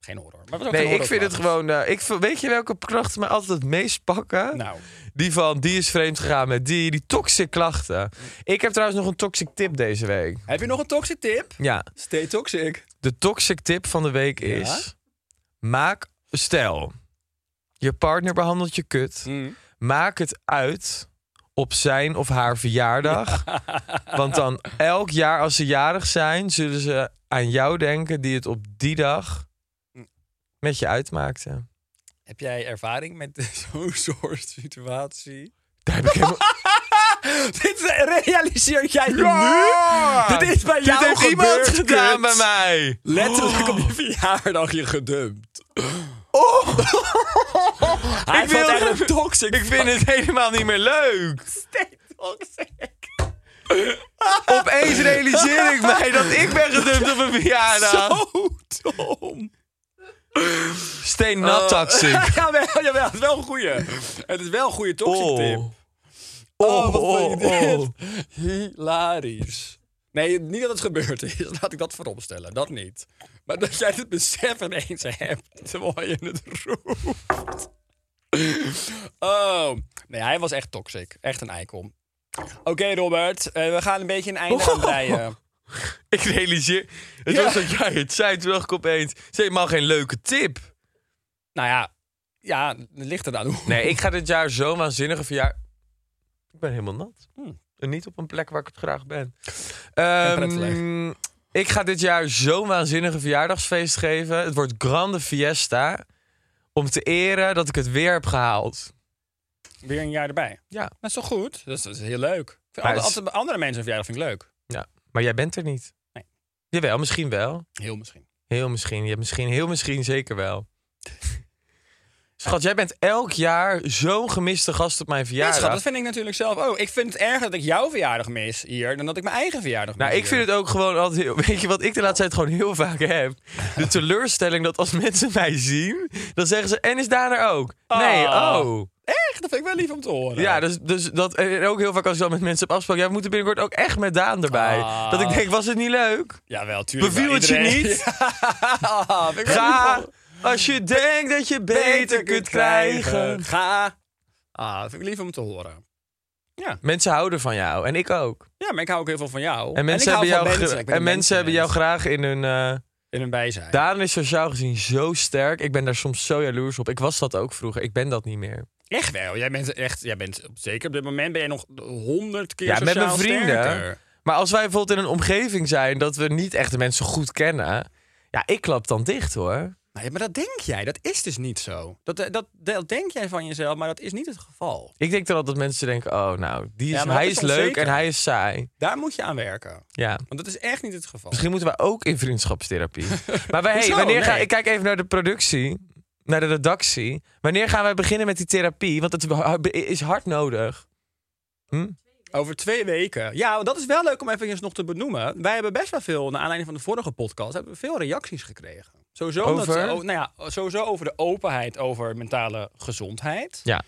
geen horror. Maar was ook Nee, geen ik horror vind het gewoon... eh, ik, vind- weet je welke klachten mij altijd het meest pakken? Nou, Die van, die is vreemd gegaan met die. Die toxic klachten. Ik heb trouwens nog een toxic tip deze week. heb je nog een toxic tip? Ja. Stay toxic. De toxic tip van de week is... Maak... Stel, je partner behandelt je kut. Maak het uit op zijn of haar verjaardag. Want dan elk jaar als ze jarig zijn, zullen ze aan jou denken die het op die dag Mm. met je uitmaakte. Heb jij ervaring met zo'n soort situatie? Daar heb ik helemaal... Dit realiseer jij je nu? Dit is bij Ah. Dit Nou, jou heeft iemand gebeurd, gedaan kut. bij mij. Letterlijk op je verjaardag je gedumpt. Oh! Hij ik Ik vond wil- echt een toxic. Ik vind het helemaal niet meer leuk. steeds toxic. Opeens realiseer ik mij dat ik ben gedumpt op een verjaardag. Zo dom. Steen Oh. nat toxic. jawel, jawel, het is wel een goeie. Het is wel een goede toxic tip. Oh, wat oh, vond je dit? oh. Hilarisch. Nee, niet dat het gebeurd is. Laat ik dat vooropstellen. Dat niet. Maar dat jij het besef ineens hebt terwijl je het roept. Oh. Nee, hij was echt toxic. Echt een eikel. Oké, Robert. eh, we gaan een beetje een einde aan breien. Ik realiseer. Het was dat jij het zei. Toen dacht ik opeens. Het is helemaal geen leuke tip. Nou ja. Ja, het ligt eraan hoe. Nee, ik ga dit jaar zo'n waanzinnige verjaardag. Ik ben helemaal nat. Hmm. En niet op een plek waar ik het graag ben. prettig. Ehm, ik ga dit jaar zo'n waanzinnige verjaardagsfeest geven. Het wordt Grande Fiesta. Om te eren dat ik het weer heb gehaald. Weer een jaar erbij. Ja. Dat is toch goed? Dat is, dat is heel leuk. Ik vind altijd- Maar het is- altijd bij andere mensen een verjaardag vind ik leuk. ja. Maar jij bent er niet. Nee. Jawel, misschien wel. Heel misschien. Heel misschien. Ja, misschien. Heel misschien zeker wel. Schat, jij bent elk jaar zo'n gemiste gast op mijn Ja, verjaardag. schat, dat vind ik natuurlijk zelf. Oh, ik vind het erger dat ik jouw verjaardag mis hier dan dat ik mijn eigen verjaardag mis. Nou, ik hier. vind het ook gewoon altijd heel... Weet je wat ik de laatste tijd gewoon heel vaak heb? De teleurstelling dat als mensen mij zien, dan zeggen ze... En is Daan er ook? Nee, Ah. oh. Echt, dat vind ik wel lief om te horen. Ja, dus, dus dat... En ook heel vaak als ik dan met mensen heb afgesproken... Ja, we moeten binnenkort ook echt met Daan erbij. Ah. Dat ik denk, was het niet leuk? Jawel, tuurlijk. Beviel wel. het je Iedereen- niet? Ja, vind ik wel lief Ga om- als je denkt dat je beter kunt krijgen. Ga. Ah, dat vind ik lief om te horen. Mensen houden van jou. En ik ook. Ja, maar ik hou ook heel veel van jou. En mensen, ik hou hebben, jou van ge- mensen. Ik ben en een mensen hebben jou mensenmens. graag in hun... eh, in hun bijzijn. Daan is sociaal gezien zo sterk. Ik ben daar soms zo jaloers op. Ik was dat ook vroeger. Ik ben dat niet meer. echt wel. Jij bent echt, jij bent, zeker op dit moment ben je nog honderd keer Ja, met sociaal mijn vrienden. sterker. Maar als wij bijvoorbeeld in een omgeving zijn dat we niet echt de mensen goed kennen. Ja, ik klap dan dicht hoor. Nee, Nou maar dat denk jij. Dat is dus niet zo. Dat, dat, dat denk jij van jezelf, maar dat is niet het geval. Ik denk dan altijd dat mensen denken: oh, nou, die is, Ja, maar hij dat is, is leuk onzeker. en hij is saai. Daar moet je aan werken. Ja. Want dat is echt niet het geval. Misschien moeten we ook in vriendschapstherapie. maar wij, hey, Hoezo? wanneer ga, Nee. ik kijk even naar de productie, naar de redactie. Wanneer gaan wij beginnen met die therapie? Want het is hard nodig. Over twee weken. Ja, dat is wel leuk om even nog te benoemen. Wij hebben best wel veel, naar aanleiding van de vorige podcast, hebben we veel reacties gekregen. Sowieso omdat- Over? oh, nou ja, sowieso over de openheid over mentale gezondheid. Ja.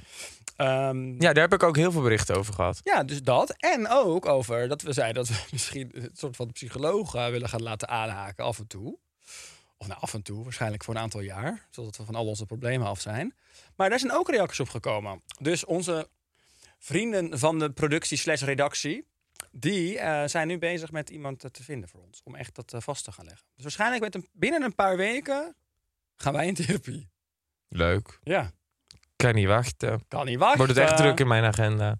Ehm, ja. ja, daar heb ik ook heel veel berichten over gehad. dus dat. En ook over dat we zeiden dat we misschien een soort van psycholoog eh, willen gaan laten aanhaken af en toe. Of nou, af en toe, waarschijnlijk voor een aantal jaar. Zodat we van al onze problemen af zijn. Maar daar zijn ook reacties op gekomen. Dus onze vrienden van de productie slash redactie... die eh, zijn nu bezig met iemand eh, te vinden voor ons. Om echt dat eh, vast te gaan leggen. Dus waarschijnlijk met een, binnen een paar weken gaan wij in therapie. Leuk. Ja, Kan niet wachten. kan niet wachten. Wordt het echt druk in mijn agenda.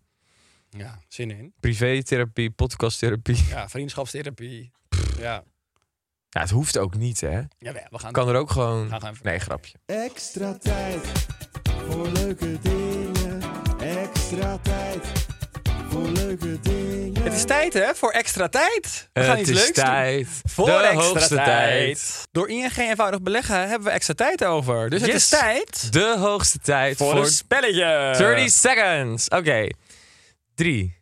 Ja, zin in. Privé-therapie, podcasttherapie. Ja, vriendschapstherapie. Ja, Ja, het hoeft ook niet, hè? jawel, we gaan... Kan er ook gewoon... Ga gewoon even- Nee, grapje. Extra tijd voor leuke dingen. Extra tijd voor leuke dingen. Het is tijd, hè, voor extra tijd. We gaan het iets is leuks doen. tijd. Voor de extra hoogste tijd. Door ING eenvoudig beleggen hebben we extra tijd over. Dus het Yes. is tijd De hoogste tijd voor, spelletje. 30 seconds. Oké. 3,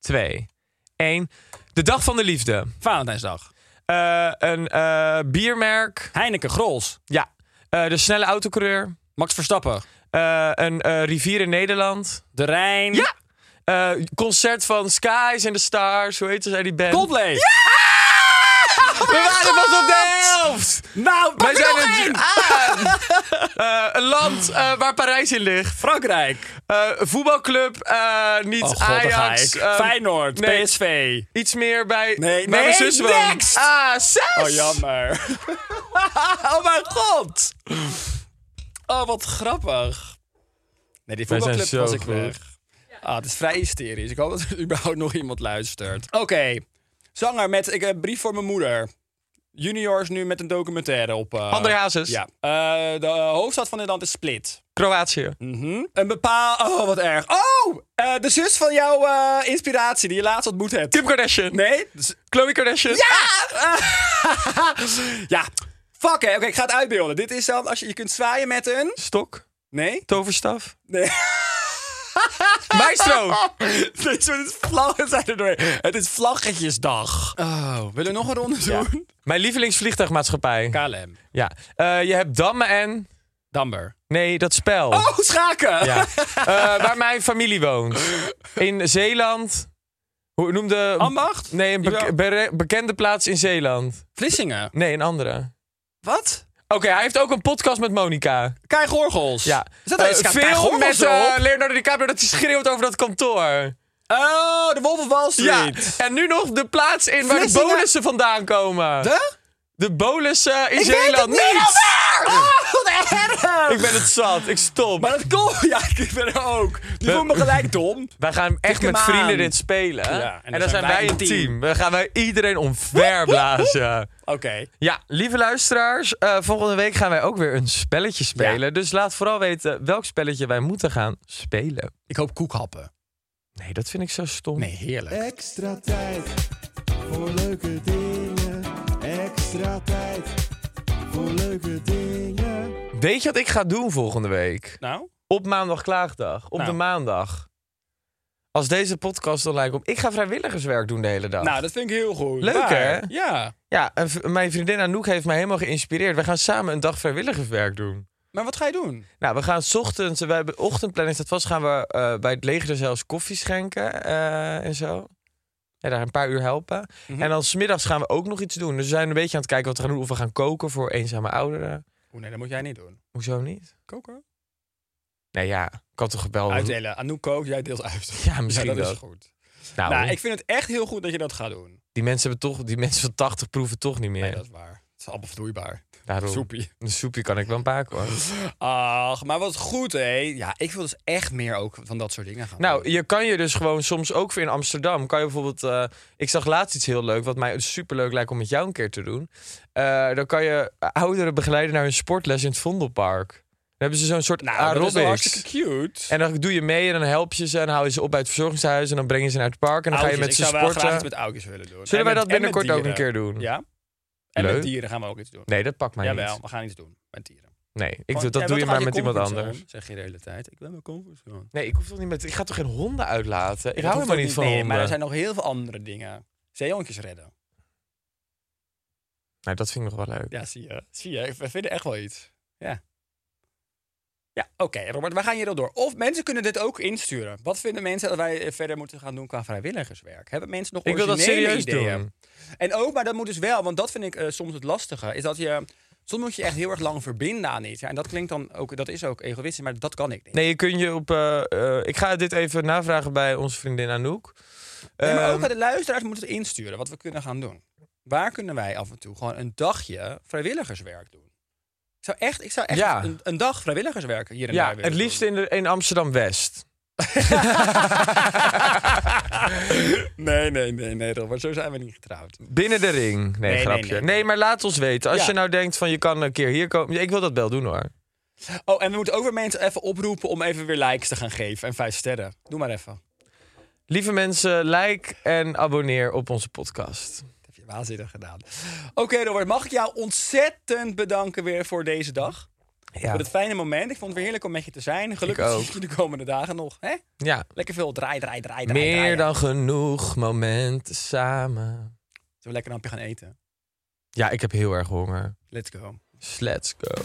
2, 1. De dag van de liefde. Valentijnsdag. Eh, een eh, biermerk. Heineken, Grols, Ja. Eh, de snelle autocoureur. Max Verstappen, Eh, een eh, rivier in Nederland. De Rijn, Ja. Eh, concert van Skies and the Stars. Hoe heet zij die band? Coldplay. We waren pas op de helft! Nou, Wij zijn nog een, één. Ah! Eh, een land eh, waar Parijs in ligt. Frankrijk, Eh, voetbalclub, eh, niet oh, God, daar ga Ajax. ik. eh, Feyenoord, nee. PSV. Iets meer bij Nee, waar mijn nee, zus woont. next! Ah, zes! Oh, jammer. oh, mijn god. Oh, wat grappig. Nee, die Wij zijn voetbalclub zo was ik goed. weg. Ah, het is vrij hysterisch. Ik hoop dat er überhaupt nog iemand luistert. Oké, zanger met ik, een brief voor mijn moeder. Juniors nu met een documentaire op... eh, André Hazes. Ja. Eh, de eh, hoofdstad van dit land is Split. Kroatië. Mhm. Een bepaal... Oh, wat erg. Oh, eh, de zus van jouw eh, inspiratie die je laatst ontmoet hebt. Kim Kardashian. Nee? Dus- Ah! Chloe Kardashian. ja, fuck hè. Oké, ik ga het uitbeelden. Dit is dan als je, je kunt zwaaien met een... Stok. Nee? Toverstaf. Nee. Maestro. Dit soort vlaggen zijn er doorheen. Het is vlaggetjesdag. Oh, willen we nog een ronde doen? Mijn lievelingsvliegtuigmaatschappij. KLM. Ja. Eh, je hebt Damme en... Damber. Nee, dat spel. Oh, schaken! Ja. Eh, waar mijn familie woont. In Zeeland. Hoe noemde... Ambacht? Nee, een bek- Jawel. bere- bekende plaats in Zeeland. Vlissingen. Nee, een andere. Wat? Oké, hij heeft ook een podcast met Monica. Kai Gorgels. Ja. Is dat Eh, uh, veel met eh, Leonardo DiCaprio dat hij schreeuwt over dat kantoor. Oh, de Wolf of Wall Ja. Street. En nu nog de plaats in waar de Vlissingen. bolussen vandaan komen. De? De bolussen in Ik weet het Zeeland. Ah! niet. alweer! Oh, wat erg! Ik ben het zat. Ik stop. Maar dat komt... Ja, ik ben er ook. Die voelt me gelijk dom. Wij gaan echt hem met vrienden aan. dit spelen. hè? Ja, en en, dan dan, zijn zijn wij wij een een team. team. Dan gaan wij iedereen omverblazen. Oké. ja, lieve luisteraars. eh, volgende week gaan wij ook weer een spelletje spelen. Dus laat vooral weten welk spelletje wij moeten gaan spelen. Ik hoop koekhappen. Nee, dat vind ik zo stom. Nee, heerlijk. Extra tijd voor leuke dingen. Extra tijd voor leuke dingen. Weet je wat ik ga doen volgende week? Nou? Op maandag klaagdag. Op Nou. de maandag. Als deze podcast online komt. Ik ga vrijwilligerswerk doen de hele dag. Nou, dat vind ik heel goed. Leuk, Waar? hè? Ja. Ja, en v- mijn vriendin Anouk heeft mij helemaal geïnspireerd. We gaan samen een dag vrijwilligerswerk doen. Maar wat ga je doen? Nou, we gaan 's ochtends, we hebben ochtendplanning staat vast, gaan we eh, bij het leger zelfs koffie schenken eh, en zo. En daar een paar uur helpen. Mhm. En dan smiddags gaan we ook nog iets doen. Dus we zijn een beetje aan het kijken wat we gaan doen. Of we gaan koken voor eenzame ouderen. Oeh, Oh, nee, dat moet jij niet doen. Hoezo niet? Koken? Nou ja, kan toch wel... Oh. Uitdelen. Anouk kookt, jij deelt uit. Ja, misschien dat wel. is goed. Nou, Nou, ik vind het echt heel goed dat je dat gaat doen. die, mensen hebben toch, die mensen van 80 proeven toch niet meer. Nee, dat is waar. Het is allemaal vloeibaar. Daarom, Soepie. Een soepje kan ik wel een paar hoor. Ach, maar wat goed, hé. Ja, ik wil dus echt meer ook van dat soort dingen gaan Nou, doen. je kan je dus gewoon soms ook weer in Amsterdam. Kan je bijvoorbeeld. eh, ik zag laatst iets heel leuk, wat mij superleuk lijkt om met jou een keer te doen. Eh, dan kan je ouderen begeleiden naar hun sportles in het Vondelpark. Dan hebben ze zo'n soort Nou, dat is aerobics. wel hartstikke cute. Ah, En dan doe je mee en dan help je ze en hou je ze op bij het verzorgingshuis. En dan breng je ze naar het park en dan Oudjes. ga je met ze Ik zou wel graag iets sporten. met oudjes willen doen. Zullen En wij met- dat en met binnenkort ook een dieren. keer doen? Ja. En Leuk. met dieren gaan we ook iets doen. Nee, dat pakt mij Jawel, niet. we gaan iets doen met dieren. Nee, ik Gewoon- doe, jij dat doe wilt je toch maar uit met iemand comfortzone, anders. Zeg je de hele tijd. Ik ben mijn comfortzone. Nee, ik hoef toch niet met. Ik ga toch geen honden uitlaten? Ik Dat hou hoeft helemaal ook niet van nee, honden. Maar er zijn nog heel veel andere dingen. Zeehondjes redden. Nou, dat vind ik nog wel leuk. Ja, zie je. Zie je, we vinden echt wel iets. Ja. Ja, oké Robert, we gaan hier al door. Of mensen kunnen dit ook insturen. Wat vinden mensen dat wij eh, verder moeten gaan doen qua vrijwilligerswerk? Hebben mensen nog Ik wil dat originele serieus ideeën? doen. En ook, maar dat moet dus wel, want dat vind ik eh, soms het lastige, is dat je... Soms moet je echt heel erg lang verbinden aan iets. Ja, en dat klinkt dan ook, dat is ook egoïstisch, maar dat kan ik niet. Nee, je kunt je op. eh, eh, ik ga dit even navragen bij onze vriendin Anouk. Nee, maar ook Ehm, aan de luisteraars moeten het insturen wat we kunnen gaan doen. Waar kunnen wij af en toe gewoon een dagje vrijwilligerswerk doen? Ik zou echt, ik zou echt Ja. een, een dag vrijwilligerswerk hier en daar ja, willen het liefst doen. in, de- in Amsterdam West. nee, nee, nee, nee, Robert, zo zijn we niet getrouwd. Binnen de ring. Nee, nee, grapje. Nee, nee. maar laat ons weten. Als Ja. je nou denkt van je kan een keer hier komen. Ja, Ik wil dat wel doen hoor. Oh, en we moeten ook weer mensen even oproepen om even weer likes te gaan geven en vijf sterren. Doe maar even. Lieve mensen, like en abonneer op onze podcast. Dat heb je waanzinnig gedaan. Oké, Robert, mag ik jou ontzettend bedanken weer voor deze dag? Ja, Voor het fijne moment. Ik vond het weer heerlijk om met je te zijn. Gelukkig ook. zie ik je de komende dagen nog. Hè? ja. Lekker veel draai, draai, draai, draai. meer draaien. dan genoeg momenten samen. Zullen we lekker een hapje gaan eten? Ja, ik heb heel erg honger. Let's go. Dus let's go.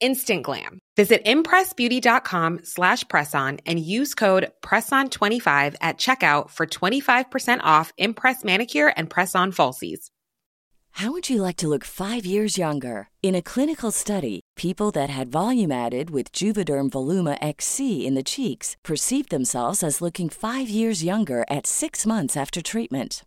Instant glam. Visit impressbeauty.com slash presson and use code presson25 at checkout for 25% off Impress Manicure and Press On Falsies. How would you like to look five years younger? In a clinical study, people that had volume added with Juvederm Voluma XC in the cheeks perceived themselves as looking five years younger at six months after treatment.